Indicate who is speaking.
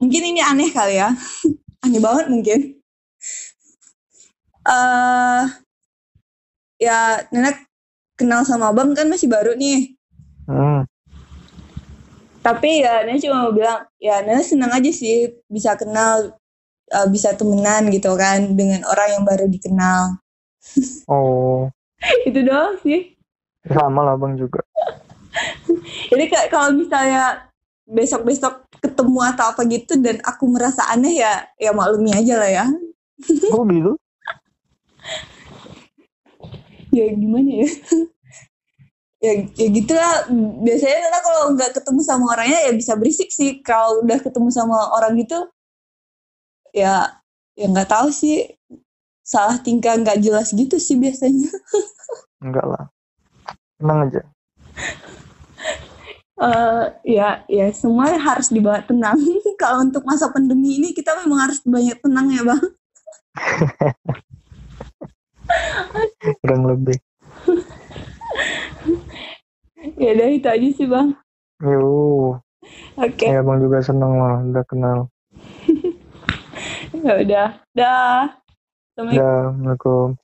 Speaker 1: mungkin ini aneh kali ya aneh banget mungkin eh ya nenek kenal sama abang kan masih baru nih
Speaker 2: Hmm.
Speaker 1: tapi ya nenek cuma mau bilang ya nenek senang aja sih bisa kenal eh, bisa temenan gitu kan dengan orang yang baru dikenal
Speaker 2: Oh,
Speaker 1: itu doang sih
Speaker 2: sama lah bang juga.
Speaker 1: Jadi kayak kalau misalnya besok-besok ketemu atau apa gitu dan aku merasa aneh ya ya maklumi aja lah ya.
Speaker 2: Kok gitu?
Speaker 1: Ya gimana ya? ya, ya gitulah biasanya Nana kalau nggak ketemu sama orangnya ya bisa berisik sih kalau udah ketemu sama orang gitu ya ya nggak tahu sih salah tingkah nggak jelas gitu sih biasanya
Speaker 2: Enggak lah. Tenang aja.
Speaker 1: Eh, ya ya semua harus dibawa tenang kalau untuk masa pandemi ini kita memang harus banyak tenang ya bang
Speaker 2: Kurang lebih.
Speaker 1: ya udah itu aja sih bang
Speaker 2: Yo,
Speaker 1: oke
Speaker 2: ya bang juga seneng lah udah kenal.
Speaker 1: Ya udah. Dah. Assalamualaikum.
Speaker 2: Ya, Assalamualaikum.